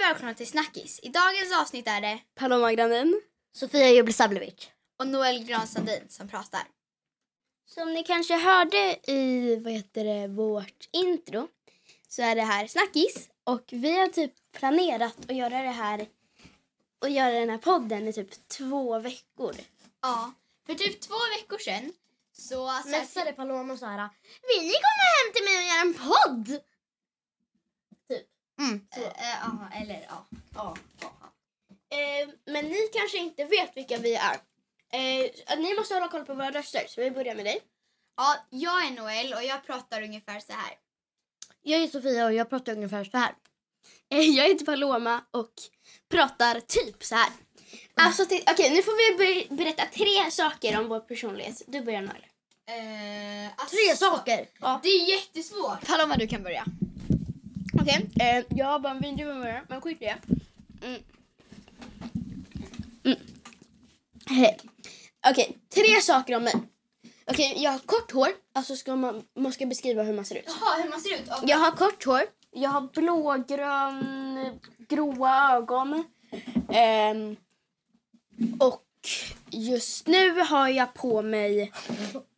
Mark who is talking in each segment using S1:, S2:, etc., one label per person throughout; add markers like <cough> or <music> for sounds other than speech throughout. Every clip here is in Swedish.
S1: välkomna till Snackis. I dagens avsnitt är det
S2: Paloma Granin.
S3: Sofia Jublisabljevic.
S1: och Noel Gransandin som pratar.
S3: Som ni kanske hörde i vad heter det, vårt intro så är det här Snackis och vi har typ planerat att göra det här och göra den här podden i typ två veckor.
S1: Ja, för typ två veckor sedan så... så här-
S3: Messade Paloma och Sara. Vi kommer hem till mig och gör en podd!
S1: Eh, eh, Ja, eller ja. ja.
S3: Eh, men ni kanske inte vet vilka vi är. Eh, ni måste hålla koll på våra röster så vi börjar med dig.
S1: Ja, jag är Noel och jag pratar ungefär så här.
S3: Jag är Sofia och jag pratar ungefär så här. <laughs> Eh, Jag heter Paloma och pratar typ så här. Alltså, till- okej, nu får vi ber- berätta tre saker om vår personlighet. Du börjar Noel.
S1: Eh, alltså,
S3: Tre saker? Ja.
S1: Det är jättesvårt. Paloma, du kan börja.
S3: Okej.
S2: Eh, jag har bara en videomemorare, men skit i det.
S3: Mm. Hej. Okej, tre saker om mig. Okej, jag har kort hår. Alltså ska man, man ska beskriva hur man ser ut.
S1: Jaha, hur man ser ut?
S3: Jag har kort hår.
S2: Jag har blågrön, gråa ögon. Ehm,
S3: Och just nu har jag på mig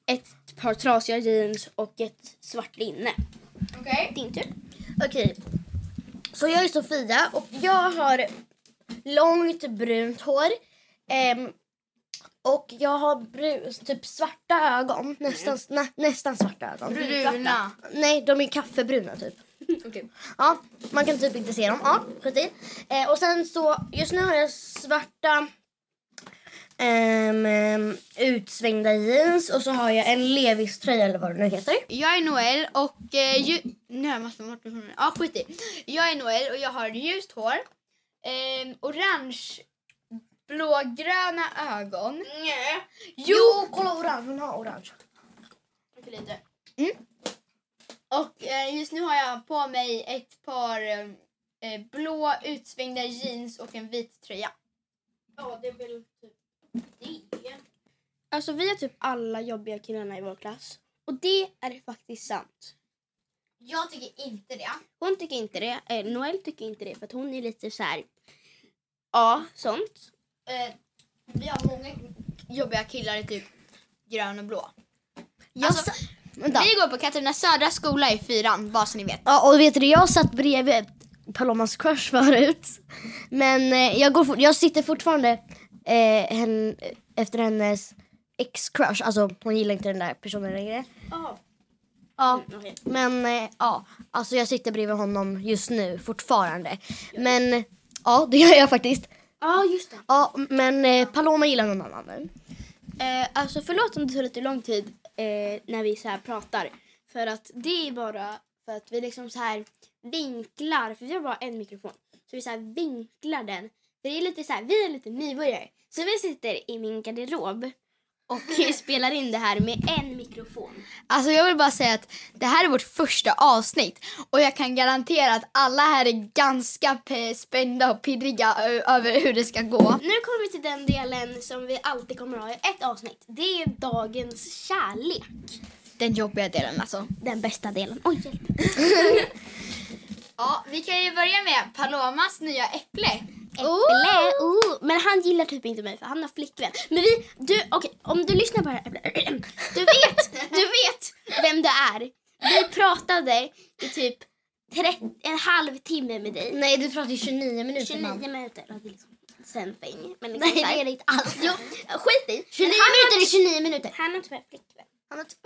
S3: ett par trasiga jeans och ett svart linne.
S1: Okej.
S3: Din tur. Okej. Så jag är Sofia och jag har långt brunt hår. Ehm, och jag har brus, typ svarta ögon. Nästan, nä, nästan svarta ögon.
S1: Bruna.
S3: Nej, de är kaffebruna typ.
S2: Okej.
S3: Ja, man kan typ inte se dem. Ja, skit i. Eh, och sen så, just nu har jag svarta ehm, ehm, utsvängda jeans och så har jag en Levis-tröja eller vad det nu heter.
S1: Jag är Noel och... Eh, ju... Nej, jag måste bort med Ja, skit i. Jag är Noel och jag har ljust hår.
S3: Ehm,
S1: Eh, orange, blågröna ögon. Nej. Jo!
S3: kolla orange, hon har orange.
S1: lite. Mm. Och eh, just nu har jag på mig ett par eh, blå utsvängda jeans och en vit tröja.
S2: Ja, det är väl typ det.
S3: Alltså vi är typ alla jobbiga killarna i vår klass. Och det är faktiskt sant.
S1: Jag tycker inte det.
S3: Hon tycker inte det. Eh, Noel tycker inte det för att hon är lite så här. Ja, sånt.
S1: Eh, vi har många jobbiga killar i typ grön och blå.
S3: Jag
S1: Alltså,
S3: sa- Vänta.
S1: Vi går på Katarina Södra skola i fyran, bara så ni vet.
S3: Ja, och vet du, jag satt bredvid Palomas crush förut. Men eh, jag, går fort, jag sitter fortfarande eh, hen, efter hennes ex-crush. Alltså hon gillar inte den där personen längre.
S2: Ja.
S3: Ja,
S2: okej.
S3: men eh, ja, alltså jag sitter bredvid honom just nu fortfarande. Men ja, det gör jag faktiskt.
S2: Ja, just det.
S3: Ja, men eh, Paloma gillar någon annan nu.
S2: Eh, alltså förlåt om det tar lite lång tid eh, när vi så här pratar. För att det är bara för att vi liksom så här vinklar, för vi har bara en mikrofon. Så vi så här vinklar den. För det är lite så här, vi är lite nybörjare. Så vi sitter i min garderob och <laughs> spelar in det här med en mikrofon.
S1: Alltså jag vill bara säga att det här är vårt första avsnitt och jag kan garantera att alla här är ganska pe- spända och pirriga ö- över hur det ska gå.
S2: Nu kommer vi till den delen som vi alltid kommer ha i ett avsnitt. Det är dagens kärlek.
S1: Den jobbiga delen alltså.
S3: Den bästa delen. Oj, hjälp.
S1: Ja, vi kan ju börja med Palomas nya äpple.
S3: Äpple, oh. Men han gillar typ inte mig för han har flickvän. Men vi, du, okej om du lyssnar på det här. Du vet, du vet vem du är. Vi pratade i typ 30, en halvtimme med dig. Nej du pratade i 29 minuter. 29
S2: mamma.
S3: minuter. Ja, det är liksom something. Men liksom Nej det är det inte alls. Jo, skit i.
S2: 29
S3: minuter är 29 minuter.
S2: Han har tyvärr flickvän.
S3: Han har t-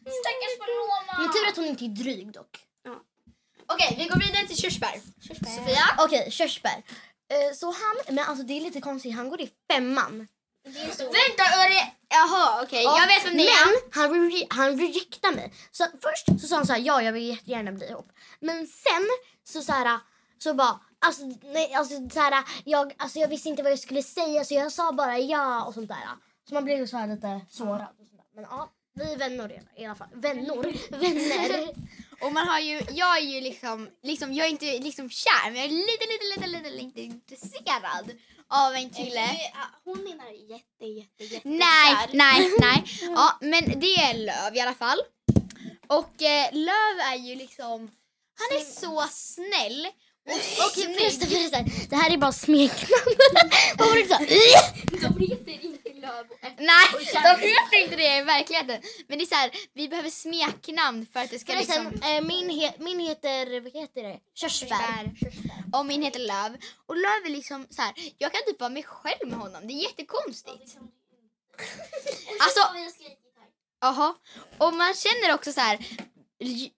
S1: Stackars Paloma!
S3: men tur att hon inte är dryg dock.
S1: Okej, vi går vidare till körsbär.
S3: Sofia? Okej, körsbär. Eh, Så han, men alltså det är lite konstigt, han går i femman.
S1: Vänta, är det... Jaha, okej.
S3: Ja,
S1: Jag vet vem det är.
S3: Men han, re- han rejectade mig. Så först så sa han så här, ja jag vill jättegärna bli ihop. Men sen så så här, så bara, alltså, nej, alltså, så här, jag, alltså jag visste inte vad jag skulle säga så jag sa bara ja och sånt där. Så man blev ju så här lite sårad. Och sånt där. Men ja, vi är vänner i alla fall. Vänner, vänner.
S1: Och man har ju... Jag är ju liksom... liksom jag är inte liksom kär, men jag är lite, lite, lite, lite, lite intresserad av en kille.
S4: Eh,
S2: Hon menar jätte, jätte, jätte
S1: Nej,
S4: <laughs>
S1: nej, nej. Ja, men det är Löv i alla fall. Och eh, Löv är ju liksom... Han är så snäll
S4: <laughs> Okej förresten, förresten. Det här är bara smeknamn. Vad var det du sa? <laughs>
S5: De heter inte Löv och Äpple.
S1: Nej, de heter inte det i verkligheten. Men det är så här, vi behöver smeknamn för att det ska
S4: Förresten,
S1: liksom...
S4: eh, min, he, min heter, vad heter det? Körsbär.
S1: Och min heter Löv. Och Löv är liksom så här, jag kan typ vara mig själv med honom. Det är jättekonstigt.
S4: <laughs>
S1: Alltså, Jaha. Och man känner också så här... j-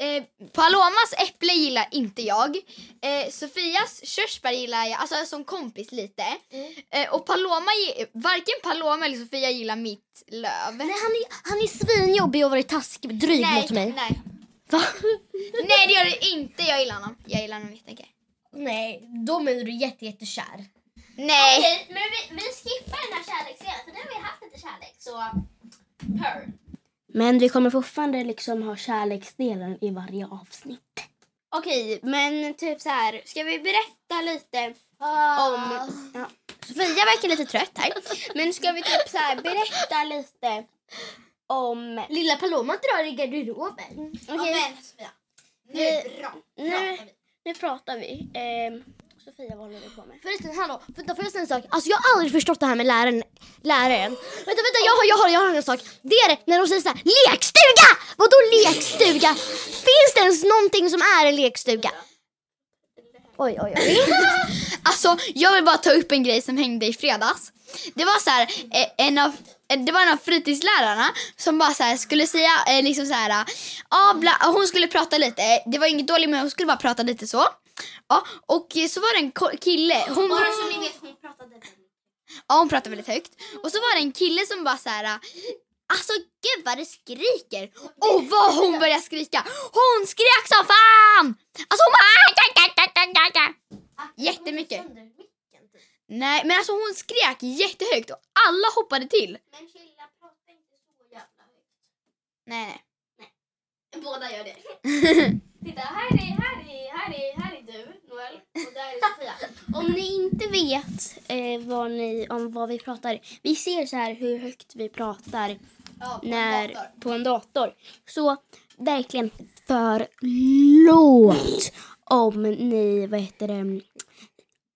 S1: Eh, Palomas äpple gillar inte jag. Eh, Sofias körsbär gillar jag, alltså som kompis lite.
S4: Mm.
S1: Eh, och Paloma, gi- varken Paloma eller Sofia gillar mitt löv.
S4: Nej, han, är, han är svinjobbig och varit taskig, dryg
S1: nej,
S3: <laughs>
S4: mot mig.
S1: Nej.
S4: Va?
S1: nej, det gör det inte. Jag gillar honom. Jag gillar honom jättemycket.
S4: Nej, då är du jätte, jättekär.
S1: Nej.
S5: Okej, men vi, vi skippar den här kärleksdelen för nu har vi haft lite kärlek så... Her.
S3: Men vi kommer fortfarande liksom ha kärleksdelen i varje avsnitt. Okej, men typ så här, ska vi berätta lite
S1: Ah,
S3: om... Ja, Sofia verkar lite trött här. Men ska vi typ så här berätta lite om...
S4: Lilla Paloma drar i garderoben.
S3: Okej,
S5: Men Sofia, nu
S3: Vi-
S5: är det bra.
S3: nu, nu pratar vi. Ehm, Sofia, vad håller du på med?
S4: Förresten, hallå. Vänta, får jag säga en sak? Alltså jag har aldrig förstått det här med läraren. läraren. Vänta, vänta, jag har, jag har, jag har en sak. Det är det när de säger så här, lekstuga! Vadå lekstuga? Finns det ens någonting som är en lekstuga? Oj, oj, oj.
S1: Alltså, jag vill bara ta upp en grej som hängde i fredags. Det var så här, eh, en av eh, det var en av fritidslärarna som bara så här skulle säga eh, liksom så här, ah, bla, ah, hon skulle prata lite. Eh, Det var inget dåligt men hon skulle bara prata lite så. Ja, och eh, så var det en ko- kille, Alltså, hon,
S5: Bara så ni vet, hon pratade väldigt
S1: ja, hon pratade väldigt högt. Och så var det en kille som bara så här, alltså gud vad det skriker. Och vad hon började skrika. Hon skrek som fan! Alltså hon bara, Jättemycket.
S5: sönder micken, typ.
S1: Nej, men alltså hon skrek jättehögt och alla hoppade till.
S5: Men chilla, prata inte så jävla högt.
S1: Nej, nej.
S5: Båda gör det. <laughs> Titta, här är, här är, här är, här är du, Noel. Och där är Sofia.
S3: Om ni inte vet eh, vad ni, om vad vi pratar, vi ser så här hur högt vi pratar
S5: Ja, på en
S3: när,
S5: dator.
S3: på en dator. Så verkligen förlåt om ni, vad heter det,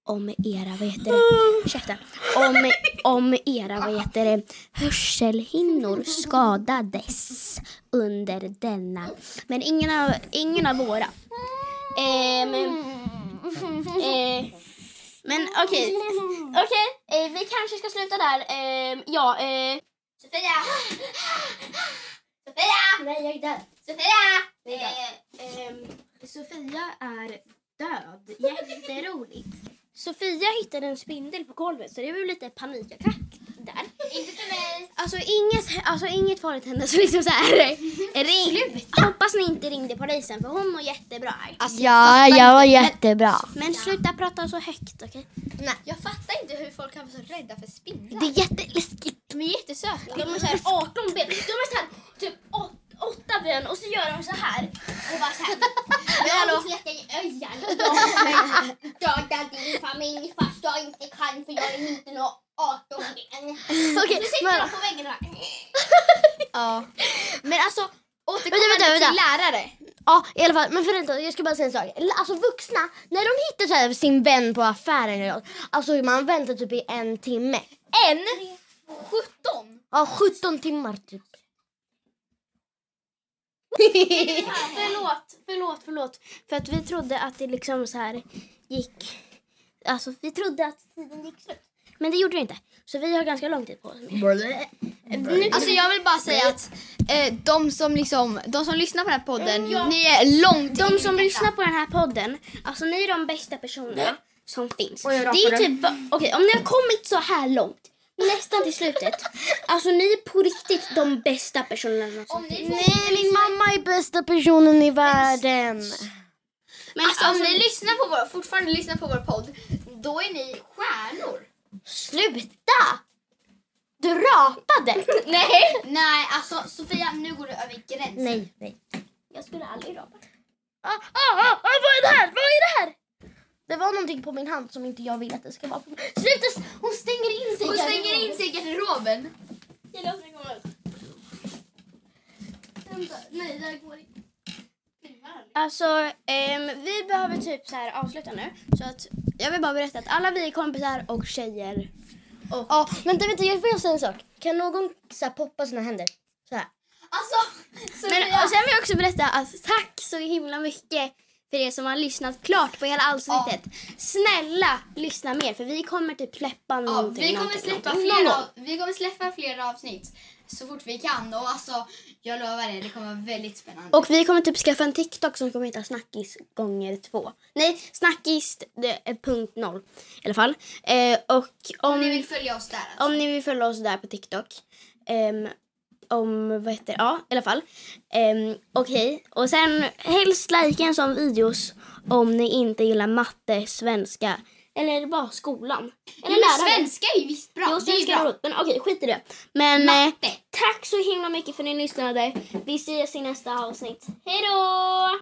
S3: om era, vad heter
S5: Mm.
S3: det, ursäkta, om, om era, vad heter det, hörselhinnor skadades under denna. Men ingen av, ingen av våra. Eh, men, eh, men okej, okej, eh, vi kanske ska sluta där. Eh, ja, eh,
S5: Sofia! Sofia!
S4: Nej, jag är där.
S5: Sofia! Eh,
S3: Ehm, Sofia är <laughs> död. Jätteroligt. Sofia hittade en spindel på golvet så det blev lite panikattack där.
S5: inte för mig.
S3: Alltså inget, alltså, inget farligt hände så liksom så <laughs> här. Ring. Hoppas ni inte ringde polisen för hon mår jättebra. här.
S1: ja,
S4: jag var jättebra.
S1: alltså,
S3: Men sluta prata så högt okej?
S1: Jag fattar inte hur folk kan vara så rädda för spindlar.
S4: Det är jätteläskigt.
S1: De är jättesöta.
S3: De har så här 18 ben. De har så här typ 8 ben och så gör de så här.
S5: Och bara såhär. Jag heter Öjan och
S4: <laughs>
S5: jag dödar din familj fast jag inte kan för jag är inte nå 18 ben.
S4: Okej,
S5: Så sitter
S4: men,
S5: jag på väggen och bara,
S1: <laughs> Ja. Men alltså, återkommande
S4: Vänta, vänta,
S1: till lärare.
S4: ja, i alla fall. Men förvänta, jag ska bara säga en sak. L- Alltså vuxna, när de hittar så här, sin vän på affären eller något. Alltså man väntar typ i en timme.
S1: En 17.
S4: Ja, 17 timmar typ.
S3: <laughs> Förlåt, förlåt, förlåt. För att vi trodde att det liksom så här gick... Alltså vi trodde att tiden gick slut. Men det gjorde det inte. Så vi har ganska lång tid på oss. Nu,
S1: Alltså jag vill bara säga att eh, de, som liksom, de som lyssnar på den här podden, ni är långt
S3: de som lyssnar på den här podden, alltså ni är de bästa personerna som finns. Det är typ, ba- okej om ni har kommit så här långt, nästan till slutet. Alltså ni är på riktigt de bästa personerna som finns.
S4: Nej, min mamma är bästa personen i världen.
S3: Men
S1: Alltså, om ni lyssnar på vår, fortfarande lyssnar på vår podd, då är ni stjärnor.
S4: Sluta! Du rapade! <laughs>
S1: Nej. Nej, alltså Sofia, nu går du över gränsen.
S4: Nej, nej.
S3: jag skulle aldrig rapa.
S4: Ah, ah, ah, ah, vad är det här? Vad är det här? Det var någonting på min hand som inte jag vill att det ska vara på. Sluta! s- Hon stänger in sig.
S1: Hon
S4: där.
S1: stänger in sig i garderoben.
S5: Jag låter den komma ut. Vänta, nej det här går inte. Filmar aldrig.
S3: Alltså, ehm, vi behöver typ så här avsluta nu. Så att jag vill bara berätta att alla vi är kompisar och tjejer.
S4: Ja, vänta, vänta, jag får jag säga en sak? Kan någon så här, poppa sina händer? Så här.
S5: Alltså,
S3: Men,
S5: Sofia.
S3: och sen vill jag också berätta att tack så himla mycket för er som har lyssnat klart på hela avsnittet. Snälla, lyssna mer för vi kommer typ släppa
S1: Ja,
S3: någonting.
S1: vi, kommer
S3: någonting,
S1: släppa
S3: någonting.
S1: fler
S3: Någon
S1: av, vi kommer släppa fler avsnitt så fort vi kan. Och alltså, jag lovar er, det kommer vara väldigt spännande.
S3: Och vi kommer typ skaffa en TikTok som kommer heta Snackis gånger två. Nej, Snackis det är punkt noll i alla fall. Eh, och om,
S1: Om ni vill följa oss där. Alltså.
S3: om ni vill följa oss där på TikTok. ehm, om vad heter Ja, i alla fall. Um, Okej, och sen helst likea en sån videos om ni inte gillar matte, svenska eller bara skolan. Eller
S1: Jo, men svenska är ju visst bra.
S3: Jo,
S1: det är ju
S3: svenska var
S1: bra.
S3: roligt, men okej, skit i det. Men eh,
S1: Matte.
S3: tack så himla mycket för att ni lyssnade. Vi ses i nästa avsnitt. Hej då!